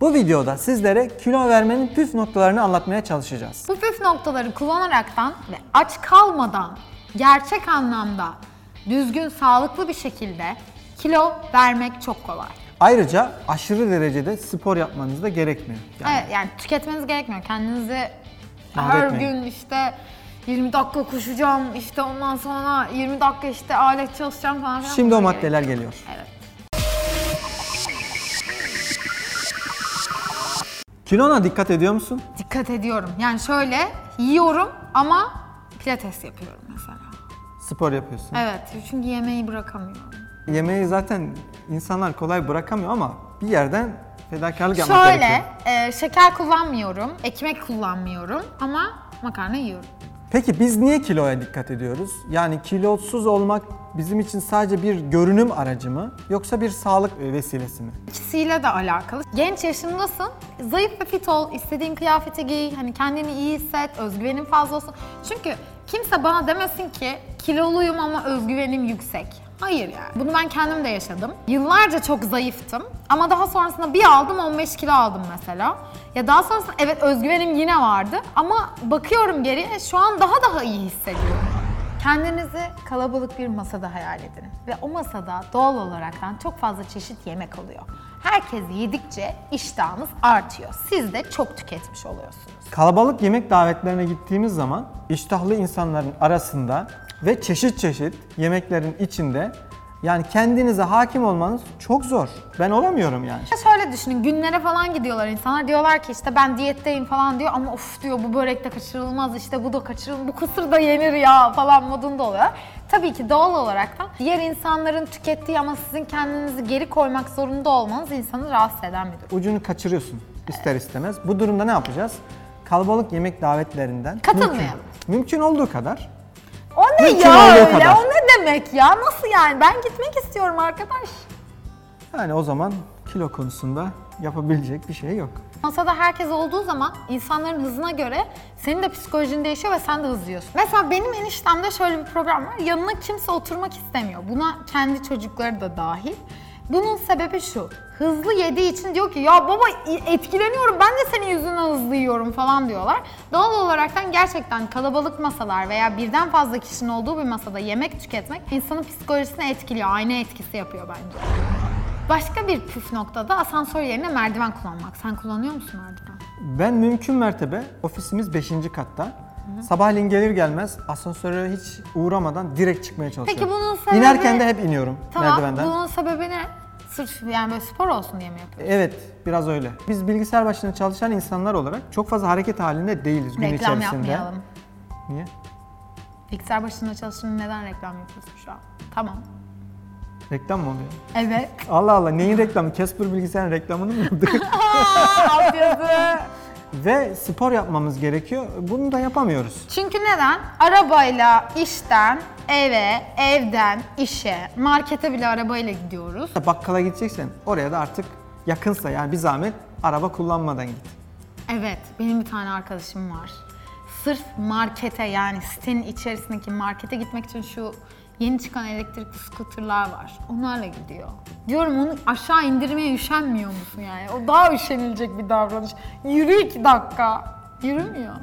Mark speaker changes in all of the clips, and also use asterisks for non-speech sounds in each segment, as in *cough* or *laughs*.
Speaker 1: Bu videoda sizlere kilo vermenin püf noktalarını anlatmaya çalışacağız.
Speaker 2: Bu püf noktaları kullanaraktan ve aç kalmadan gerçek anlamda düzgün, sağlıklı bir şekilde kilo vermek çok kolay.
Speaker 1: Ayrıca aşırı derecede spor yapmanız da gerekmiyor. Yani
Speaker 2: Evet, yani tüketmeniz gerekmiyor. Kendinizi her
Speaker 1: Mahvetmeyin.
Speaker 2: gün işte 20 dakika koşacağım, işte ondan sonra 20 dakika işte alet çalışacağım falan filan.
Speaker 1: Şimdi o
Speaker 2: Bunlara
Speaker 1: maddeler
Speaker 2: gerek yok.
Speaker 1: geliyor.
Speaker 2: Evet.
Speaker 1: Kilona dikkat ediyor musun?
Speaker 2: Dikkat ediyorum. Yani şöyle yiyorum ama pilates yapıyorum mesela.
Speaker 1: Spor yapıyorsun.
Speaker 2: Evet, çünkü yemeği bırakamıyorum.
Speaker 1: Yemeği zaten insanlar kolay bırakamıyor ama bir yerden fedakarlık yapmak
Speaker 2: Şöyle,
Speaker 1: gerekiyor.
Speaker 2: e, şeker kullanmıyorum, ekmek kullanmıyorum ama makarna yiyorum.
Speaker 1: Peki biz niye kiloya dikkat ediyoruz? Yani kilosuz olmak bizim için sadece bir görünüm aracı mı yoksa bir sağlık e, vesilesi mi?
Speaker 2: İkisiyle de alakalı. Genç yaşındasın, zayıf ve fit ol, istediğin kıyafeti giy, hani kendini iyi hisset, özgüvenin fazla olsun. Çünkü kimse bana demesin ki kiloluyum ama özgüvenim yüksek. Hayır yani. Bunu ben kendim de yaşadım. Yıllarca çok zayıftım ama daha sonrasında bir aldım 15 kilo aldım mesela. Ya daha sonrasında evet özgüvenim yine vardı ama bakıyorum geriye şu an daha daha iyi hissediyorum. Kendinizi kalabalık bir masada hayal edin ve o masada doğal olaraktan çok fazla çeşit yemek oluyor. Herkes yedikçe iştahınız artıyor. Siz de çok tüketmiş oluyorsunuz.
Speaker 1: Kalabalık yemek davetlerine gittiğimiz zaman iştahlı insanların arasında ve çeşit çeşit yemeklerin içinde yani kendinize hakim olmanız çok zor. Ben olamıyorum yani.
Speaker 2: Ya Şöyle düşünün günlere falan gidiyorlar insanlar diyorlar ki işte ben diyetteyim falan diyor ama of diyor bu börek de kaçırılmaz işte bu da kaçırılmaz bu kısır da yenir ya falan modunda oluyor. Tabii ki doğal olaraktan diğer insanların tükettiği ama sizin kendinizi geri koymak zorunda olmanız insanı rahatsız eden bir durum.
Speaker 1: Ucunu kaçırıyorsun ister istemez. Bu durumda ne yapacağız? Kalabalık yemek davetlerinden
Speaker 2: Katılmayalım.
Speaker 1: Mümkün, mümkün olduğu kadar
Speaker 2: O ne
Speaker 1: Mümkün
Speaker 2: ya
Speaker 1: olduğu
Speaker 2: öyle?
Speaker 1: kadar.
Speaker 2: O ne demek ya? Nasıl yani? Ben gitmek istiyorum arkadaş.
Speaker 1: yani o zaman kilo konusunda yapabilecek bir şey yok.
Speaker 2: Masada herkes olduğu zaman insanların hızına göre senin de psikolojin değişiyor ve sen de hızlıyorsun. Mesela benim eniştemde şöyle bir problem var. Yanına kimse oturmak istemiyor. Buna kendi çocukları da dahil. Bunun sebebi şu. Hızlı yediği için diyor ki ya baba etkileniyorum ben de senin yüzünden hızlı yiyorum falan diyorlar. Doğal olaraktan gerçekten kalabalık masalar veya birden fazla kişinin olduğu bir masada yemek tüketmek insanın psikolojisini etkiliyor. Ayna etkisi yapıyor bence. Başka bir püf noktada asansör yerine merdiven kullanmak. Sen kullanıyor musun merdiven?
Speaker 1: Ben mümkün mertebe ofisimiz 5. katta. Sabahleyin gelir gelmez asansöre hiç uğramadan direkt çıkmaya çalışıyorum.
Speaker 2: bunun sebebi-
Speaker 1: İnerken de hep iniyorum
Speaker 2: Tamam,
Speaker 1: merdivenden.
Speaker 2: bunun sebebi ne? Sırf yani böyle spor olsun diye mi yapıyorsun?
Speaker 1: Evet, biraz öyle. Biz bilgisayar başında çalışan insanlar olarak çok fazla hareket halinde değiliz gün
Speaker 2: Reklam
Speaker 1: içerisinde.
Speaker 2: yapmayalım.
Speaker 1: Niye?
Speaker 2: Bilgisayar başında çalıştığında neden reklam yapıyorsun şu an? Tamam.
Speaker 1: Reklam mı oluyor?
Speaker 2: *laughs* Evet.
Speaker 1: Allah Allah neyin reklamı? Casper bilgisayarın reklamını mı
Speaker 2: *laughs*
Speaker 1: yaptık?
Speaker 2: Altyazı.
Speaker 1: Ve spor yapmamız gerekiyor. Bunu da yapamıyoruz.
Speaker 2: Çünkü neden? Arabayla işten, eve, evden, işe, markete bile arabayla gidiyoruz.
Speaker 1: Bakkala gideceksen oraya da artık yakınsa yani bir zahmet araba kullanmadan git.
Speaker 2: Evet, benim bir tane arkadaşım var. Sırf markete yani sitenin içerisindeki markete gitmek için şu yeni çıkan elektrikli skuterlar var. Onlarla gidiyor. Diyorum onu aşağı indirmeye üşenmiyor musun yani? O daha üşenilecek bir davranış. Yürü iki dakika. Yürümüyor.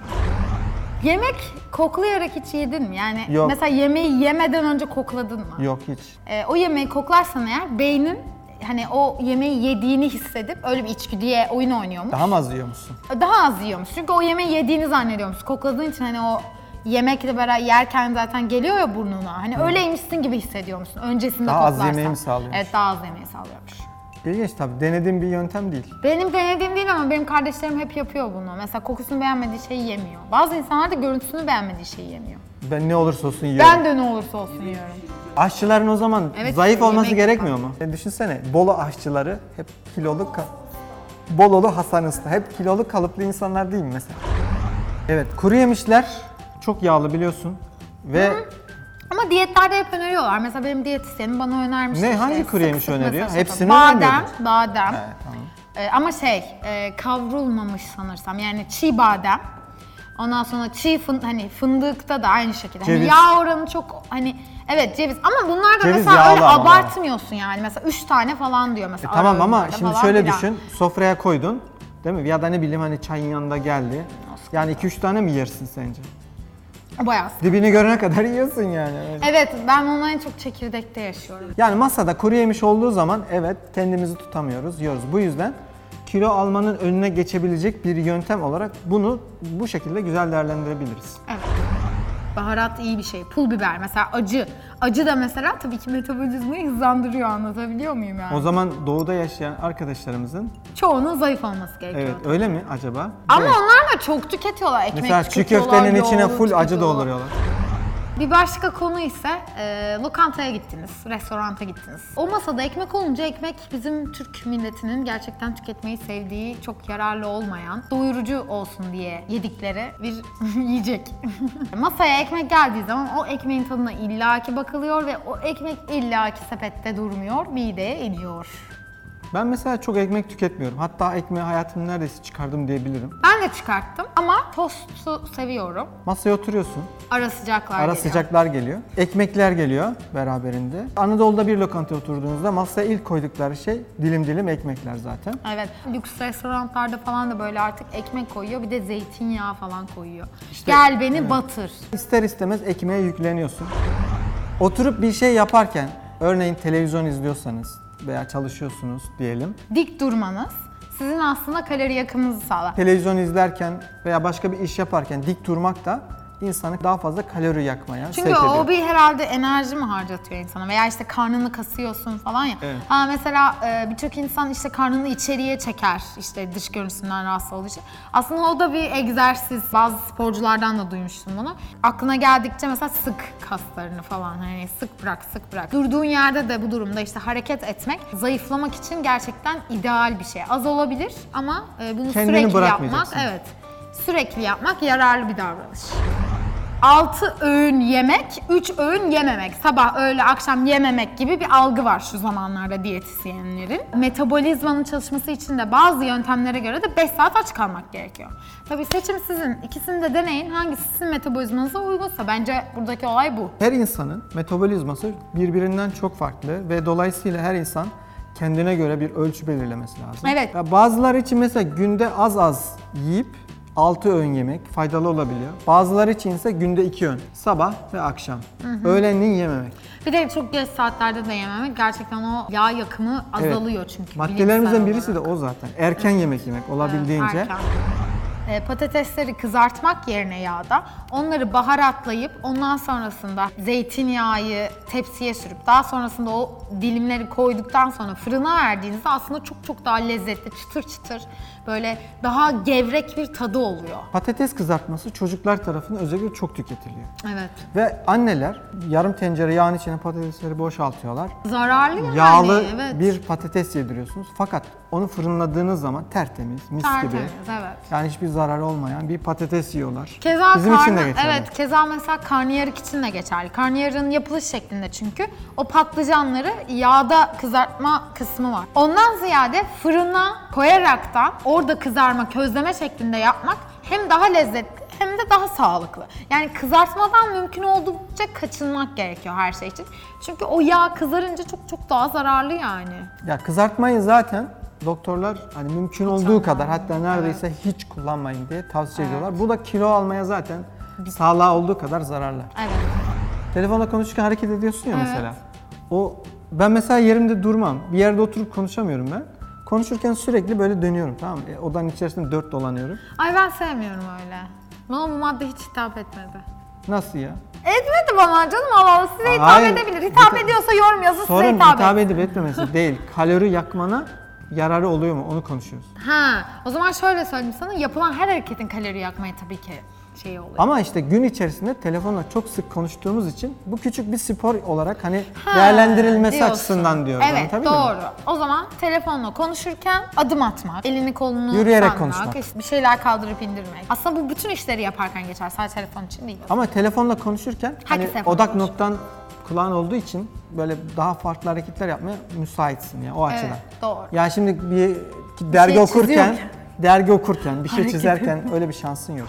Speaker 2: Yemek koklayarak hiç yedin mi? Yani
Speaker 1: Yok.
Speaker 2: mesela yemeği yemeden önce kokladın mı?
Speaker 1: Yok hiç.
Speaker 2: Ee, o yemeği koklarsan eğer beynin hani o yemeği yediğini hissedip öyle bir içgüdüye oyun oynuyormuş
Speaker 1: Daha mı az yiyor musun?
Speaker 2: daha az yiyormuş. Çünkü o yemeği yediğini zannediyormuş. Kokladığın için hani o yemekle beraber yerken zaten geliyor ya burnuna. Hani öyleymişsin gibi hissediyormuşsun. Öncesinde
Speaker 1: Daha az
Speaker 2: koklarsan.
Speaker 1: yemeği mi sağlıyormuş?
Speaker 2: Evet daha az yemeği sağlıyormuş.
Speaker 1: İlginç tabii. Denediğim bir yöntem değil.
Speaker 2: Benim denediğim değil ama benim kardeşlerim hep yapıyor bunu. Mesela kokusunu beğenmediği şeyi yemiyor. Bazı insanlar da görüntüsünü beğenmediği şeyi yemiyor.
Speaker 1: Ben ne olursa olsun yiyorum.
Speaker 2: Ben de ne olursa olsun yiyorum.
Speaker 1: Aşçıların o zaman
Speaker 2: Evet,
Speaker 1: zayıf olması
Speaker 2: yemek-
Speaker 1: gerekmiyor mu? E, düşünsene Bolu aşçıları hep kilolu ka- Bololu Hasan Usta hep kilolu kalıplı insanlar değil mi mesela? Evet, kuru yemişler çok yağlı biliyorsun. Ve
Speaker 2: Ama diyetlerde hep öneriyorlar. Mesela benim diyetisyenim bana önermiş.
Speaker 1: Ne,
Speaker 2: işte
Speaker 1: hangi kuru
Speaker 2: sık
Speaker 1: yemiş
Speaker 2: sık
Speaker 1: öneriyor?
Speaker 2: mesela
Speaker 1: Hepsini
Speaker 2: badem,
Speaker 1: önermiyordu.
Speaker 2: badem.
Speaker 1: He, tamam.
Speaker 2: Ee, ama şey, e, kavrulmamış sanırsam. Yani çiğ badem. Ondan sonra çiğ fın, hani fındıkta da aynı şekilde. Hani
Speaker 1: Ceviz.
Speaker 2: yağ oranı çok hani Evet ceviz ama bunlar da
Speaker 1: Ceviz
Speaker 2: mesela öyle
Speaker 1: yağlı ama.
Speaker 2: abartmıyorsun yani. Mesela 3 tane falan diyor
Speaker 1: E
Speaker 2: mesela.
Speaker 1: tamam
Speaker 2: ara
Speaker 1: ama
Speaker 2: öğünlerde
Speaker 1: şimdi
Speaker 2: falan
Speaker 1: şöyle
Speaker 2: filan.
Speaker 1: düşün. Sofraya koydun. Değil mi? Ya da ne bileyim hani çayın yanında geldi. Yani 2-3 tane mi yersin sence?
Speaker 2: Bayağı.
Speaker 1: Dibini görene kadar yiyorsun yani. öyle.
Speaker 2: Evet ben ondan en çok çekirdekte yaşıyorum.
Speaker 1: Yani masada kuru yemiş olduğu zaman evet kendimizi tutamıyoruz, yiyoruz. Bu yüzden kilo almanın önüne geçebilecek bir yöntem olarak bunu bu şekilde güzel değerlendirebiliriz.
Speaker 2: Evet. Baharat iyi bir şey. Pul biber mesela acı. Acı da mesela tabii ki metabolizmayı hızlandırıyor anlatabiliyor muyum yani?
Speaker 1: O zaman doğuda yaşayan arkadaşlarımızın
Speaker 2: Çoğunun zayıf olması gerekiyor.
Speaker 1: evet öyle mi acaba?
Speaker 2: Ama
Speaker 1: Evet.
Speaker 2: onlar da çok tüketiyorlar. Ekmek
Speaker 1: mesela çiğ
Speaker 2: tüketiyorlar,
Speaker 1: köftenin içine
Speaker 2: yoğurt
Speaker 1: full acı
Speaker 2: tüketiyorlar.
Speaker 1: dolduruyorlar.
Speaker 2: Bir başka konu ise e, lokantaya gittiniz, restoranta gittiniz. O masada ekmek olunca ekmek bizim Türk milletinin gerçekten tüketmeyi sevdiği, çok yararlı olmayan, doyurucu olsun diye yedikleri bir *laughs* yiyecek. Masaya ekmek geldiği zaman o ekmeğin tadına illaki bakılıyor ve o ekmek illaki sepette durmuyor, mideye iniyor.
Speaker 1: Ben mesela çok ekmek tüketmiyorum. Hatta ekmeği hayatımın neredeyse çıkardım diyebilirim.
Speaker 2: Ben de çıkarttım ama tostu seviyorum.
Speaker 1: Masaya oturuyorsun.
Speaker 2: Ara sıcaklar
Speaker 1: Ara
Speaker 2: geliyor.
Speaker 1: sıcaklar geliyor. Ekmekler geliyor beraberinde. Anadolu'da bir lokantaya oturduğunuzda masaya ilk koydukları şey dilim dilim ekmekler zaten.
Speaker 2: Evet. Lüks restoranlarda falan da böyle artık ekmek koyuyor. Bir de zeytinyağı falan koyuyor.
Speaker 1: İşte,
Speaker 2: Gel beni batır.
Speaker 1: İster istemez ekmeğe yükleniyorsun. Oturup bir şey yaparken, örneğin televizyon izliyorsanız veya çalışıyorsunuz diyelim.
Speaker 2: Dik durmanız sizin aslında kalori yakımınızı sağlar.
Speaker 1: Televizyon izlerken veya başka bir iş yaparken dik durmak da insanı daha fazla kalori yakmaya
Speaker 2: Çünkü
Speaker 1: sevk
Speaker 2: o
Speaker 1: ediyor.
Speaker 2: bir herhalde enerji mi harcatıyor insana veya işte karnını kasıyorsun falan ya.
Speaker 1: Evet.
Speaker 2: Ha mesela e, birçok insan işte karnını içeriye çeker işte dış görüntüsünden rahatsız olduğu için. Aslında o da bir egzersiz. Bazı sporculardan da duymuştum bunu. Aklına geldikçe mesela sık kaslarını falan hani sık bırak sık bırak. Durduğun yerde de bu durumda işte hareket etmek zayıflamak için gerçekten ideal bir şey. Az olabilir ama e, bunu
Speaker 1: Kendini
Speaker 2: sürekli yapmak
Speaker 1: bırakmayacaksın.
Speaker 2: evet. Sürekli yapmak yararlı bir davranış. 6 öğün yemek, 3 öğün yememek. Sabah, öğle, akşam yememek gibi bir algı var şu zamanlarda diyetisyenlerin. Metabolizmanın çalışması için de bazı yöntemlere göre de 5 saat aç kalmak gerekiyor. Tabii seçim sizin. İkisini de deneyin. Hangisi sizin metabolizmanıza uygunsa. Bence buradaki olay bu.
Speaker 1: Her insanın metabolizması birbirinden çok farklı ve dolayısıyla her insan kendine göre bir ölçü belirlemesi lazım.
Speaker 2: Evet.
Speaker 1: Ya bazıları için mesela günde az az yiyip 6 öğün yemek faydalı olabiliyor. Bazıları için ise günde 2 öğün. Sabah ve akşam. Öğlenleyin yememek.
Speaker 2: Bir de çok geç saatlerde de yememek gerçekten o yağ yakımı
Speaker 1: Evet.
Speaker 2: azalıyor çünkü.
Speaker 1: Maddelerimizden
Speaker 2: bilimsel
Speaker 1: birisi
Speaker 2: olarak.
Speaker 1: de o zaten. Erken yemek yemek olabildiğince.
Speaker 2: Erken. Ee, patatesleri kızartmak yerine yağda onları baharatlayıp ondan sonrasında zeytinyağı tepsiye sürüp daha sonrasında o dilimleri koyduktan sonra fırına verdiğinizde aslında çok çok daha lezzetli çıtır çıtır böyle daha gevrek bir tadı oluyor.
Speaker 1: Patates kızartması çocuklar tarafından özellikle çok tüketiliyor.
Speaker 2: Evet.
Speaker 1: Ve anneler yarım tencere yağın içine patatesleri boşaltıyorlar.
Speaker 2: Zararlı yani.
Speaker 1: Yağlı
Speaker 2: Hani, evet.
Speaker 1: bir patates yediriyorsunuz. Fakat onu fırınladığınız zaman tertemiz, mis gibi.
Speaker 2: Tertemiz, evet.
Speaker 1: Yani hiçbir zararı olmayan bir patates yiyorlar.
Speaker 2: Keza
Speaker 1: Bizim için de
Speaker 2: karna-
Speaker 1: geçerli.
Speaker 2: Evet, keza mesela karnıyarık için de geçerli. Karnıyarığın yapılış şeklinde çünkü o patlıcanları yağda kızartma kısmı var. Ondan ziyade fırına koyarak da orada kızarma, közleme şeklinde yapmak hem daha lezzetli hem de daha sağlıklı. Yani kızartmadan mümkün olduğunca kaçınmak gerekiyor her şey için. Çünkü o yağ kızarınca çok çok daha zararlı yani.
Speaker 1: Ya kızartmayı zaten doktorlar hani mümkün olduğu kadar hatta neredeyse hiç kullanmayın diye tavsiye ediyorlar. Bu da kilo almaya zaten sağlığa olduğu kadar zararlı.
Speaker 2: Evet.
Speaker 1: Telefonla konuşurken hareket ediyorsun ya mesela. O ben mesela yerimde durmam. Bir yerde oturup konuşamıyorum ben. Konuşurken sürekli böyle dönüyorum tamam mı? E, odanın içerisinde dört dolanıyorum.
Speaker 2: Ay ben sevmiyorum öyle. Bana bu madde hiç hitap etmedi.
Speaker 1: Nasıl ya?
Speaker 2: Etmedi bana canım Allah Allah size hitap
Speaker 1: Hayır,
Speaker 2: edebilir. Hitap
Speaker 1: hitap-
Speaker 2: ediyorsa yorum yazın size
Speaker 1: Sorun
Speaker 2: hitap,
Speaker 1: hitap
Speaker 2: et.
Speaker 1: edip
Speaker 2: *laughs*
Speaker 1: etmemesi değil. Kalori yakmana yararı oluyor mu onu konuşuyoruz.
Speaker 2: Ha o zaman şöyle söyleyeyim sana yapılan her hareketin kalori yakmaya tabii ki şey oluyor.
Speaker 1: Ama işte gün içerisinde telefonla çok sık konuştuğumuz için bu küçük bir spor olarak hani
Speaker 2: Ha,
Speaker 1: değerlendirilmesi
Speaker 2: diyorsun.
Speaker 1: açısından diyorum.
Speaker 2: Evet
Speaker 1: Anlatabildim mi?
Speaker 2: doğru. O zaman telefonla konuşurken adım atmak, elini kolunu
Speaker 1: Yürüyerek
Speaker 2: sanmak,
Speaker 1: konuşmak.
Speaker 2: işte bir şeyler kaldırıp indirmek. Aslında bu bütün işleri yaparken geçer sadece telefon için değil.
Speaker 1: Ama telefonla konuşurken hani
Speaker 2: Herkes telefonla
Speaker 1: odak
Speaker 2: konuşuyor.
Speaker 1: noktan kulağın olduğu için böyle daha farklı hareketler yapmaya müsaitsin ya o açıdan.
Speaker 2: doğru.
Speaker 1: Ya şimdi bir dergi
Speaker 2: şey
Speaker 1: okurken,
Speaker 2: çiziyorken.
Speaker 1: dergi okurken, bir şey
Speaker 2: Hareket
Speaker 1: çizerken öyle bir şansın yok.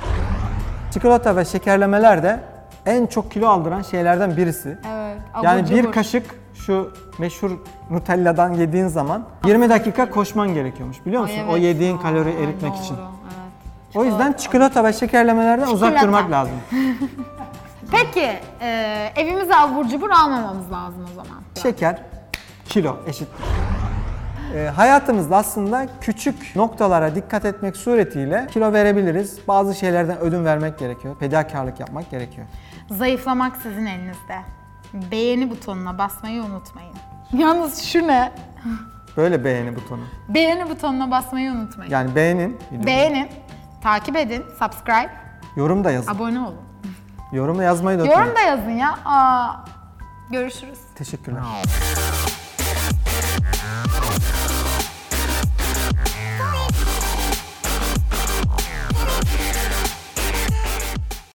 Speaker 1: Çikolata ve şekerlemeler de en çok kilo aldıran şeylerden birisi.
Speaker 2: Evet. Abur
Speaker 1: Yani bir
Speaker 2: cubur.
Speaker 1: kaşık şu meşhur Nutella'dan yediğin zaman 20 dakika koşman gerekiyormuş biliyor
Speaker 2: Ay
Speaker 1: musun?
Speaker 2: evet.
Speaker 1: O yediğin
Speaker 2: Aa,
Speaker 1: kalori eritmek
Speaker 2: doğru,
Speaker 1: için.
Speaker 2: evet.
Speaker 1: O yüzden çikolata ve şekerlemelerden uzak
Speaker 2: Çikolata.
Speaker 1: durmak lazım.
Speaker 2: Peki e, evimize abur cubur almamamız lazım o zaman.
Speaker 1: Şeker, kilo eşittir. Ee, hayatımızda aslında küçük noktalara dikkat etmek suretiyle kilo verebiliriz. Bazı şeylerden ödün vermek gerekiyor. Fedakarlık yapmak gerekiyor.
Speaker 2: Zayıflamak sizin elinizde. Beğeni butonuna basmayı unutmayın. *laughs* Yalnız şu ne?
Speaker 1: Böyle beğeni butonu.
Speaker 2: Beğeni butonuna basmayı unutmayın.
Speaker 1: Yani beğenin,
Speaker 2: Beğenin, takip edin, subscribe,
Speaker 1: yorum da yazın.
Speaker 2: abone olun.
Speaker 1: Yorum da yazmayı da
Speaker 2: Yorum
Speaker 1: unutmayın.
Speaker 2: da yazın ya. Aa, görüşürüz.
Speaker 1: Teşekkürler.